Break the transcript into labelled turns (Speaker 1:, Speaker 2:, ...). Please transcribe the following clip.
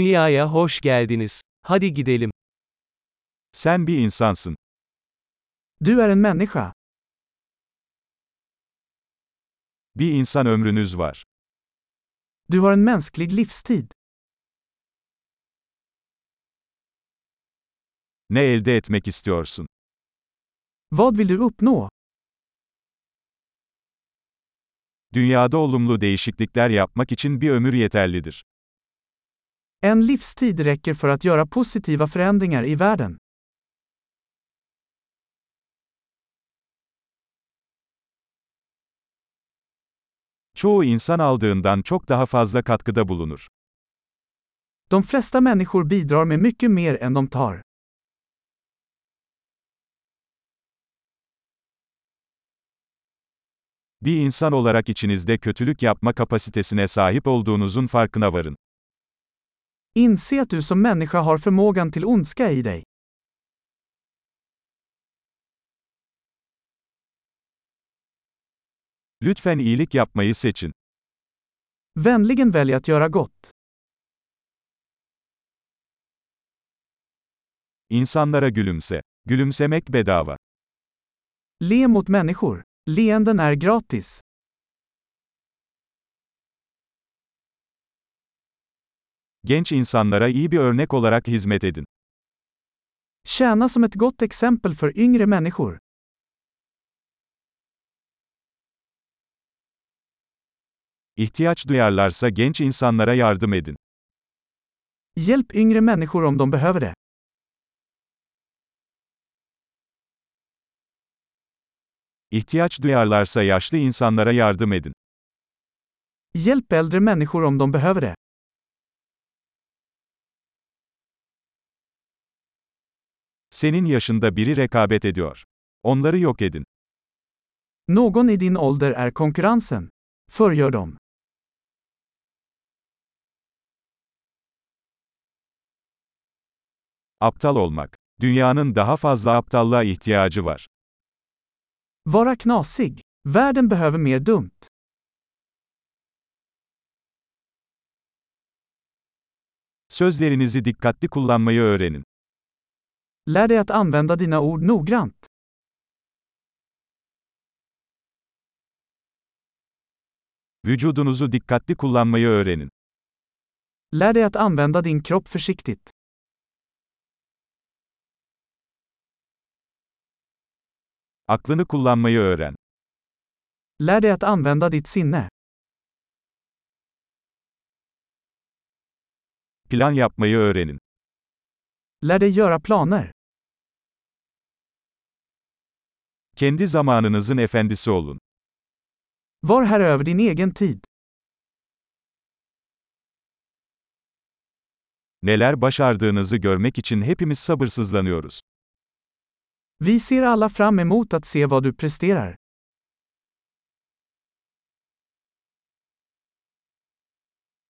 Speaker 1: Dünyaya hoş geldiniz. Hadi gidelim.
Speaker 2: Sen bir insansın.
Speaker 3: Du är en människa.
Speaker 2: Bir insan ömrünüz var.
Speaker 3: Du har en mänsklig livstid.
Speaker 2: Ne elde etmek istiyorsun?
Speaker 3: Vad vill du uppnå?
Speaker 2: Dünyada olumlu değişiklikler yapmak için bir ömür yeterlidir.
Speaker 3: En livstid räcker för att göra positiva förändringar i världen.
Speaker 2: Çoğu insan aldığından çok daha fazla katkıda bulunur.
Speaker 3: De flesta människor bidrar med mycket mer än de tar.
Speaker 2: Bir insan olarak içinizde kötülük yapma kapasitesine sahip olduğunuzun farkına varın.
Speaker 3: Inse att du som människa har förmågan till ondska i dig.
Speaker 2: Lütfen iyilik yapmayı seçin.
Speaker 3: Vänligen välj att göra gott.
Speaker 2: İnsanlara gülümse. Gülümsemek bedava.
Speaker 3: Le mot människor. Leenden är gratis.
Speaker 2: Genç insanlara iyi bir örnek olarak hizmet edin.
Speaker 3: Tjäna som ett gott exempel för yngre människor.
Speaker 2: İhtiyaç duyarlarsa genç insanlara yardım edin.
Speaker 3: Hjälp yngre människor om de behöver det.
Speaker 2: İhtiyaç duyarlarsa yaşlı insanlara yardım edin.
Speaker 3: Hjälp äldre människor om de behöver det.
Speaker 2: Senin yaşında biri rekabet ediyor. Onları yok edin.
Speaker 3: Någon i din ålder är konkurrensen. Förgör dem.
Speaker 2: Aptal olmak. Dünyanın daha fazla aptallığa ihtiyacı var.
Speaker 3: Vara knasig. Världen behöver mer dumt.
Speaker 2: Sözlerinizi dikkatli kullanmayı öğrenin.
Speaker 3: Lär dig att använda dina ord noggrant.
Speaker 2: Vücudunuzu dikkatli kullanmayı öğrenin.
Speaker 3: Lär dig att använda din kropp försiktigt.
Speaker 2: Aklını kullanmayı öğren.
Speaker 3: Lär dig att använda ditt sinne.
Speaker 2: Plan yapmayı öğrenin.
Speaker 3: Lär dig göra planer.
Speaker 2: Kendi zamanınızın efendisi olun.
Speaker 3: Var här över din egen tid.
Speaker 2: Neler başardığınızı görmek için hepimiz sabırsızlanıyoruz.
Speaker 3: Vi ser alla fram emot att se vad du presterar.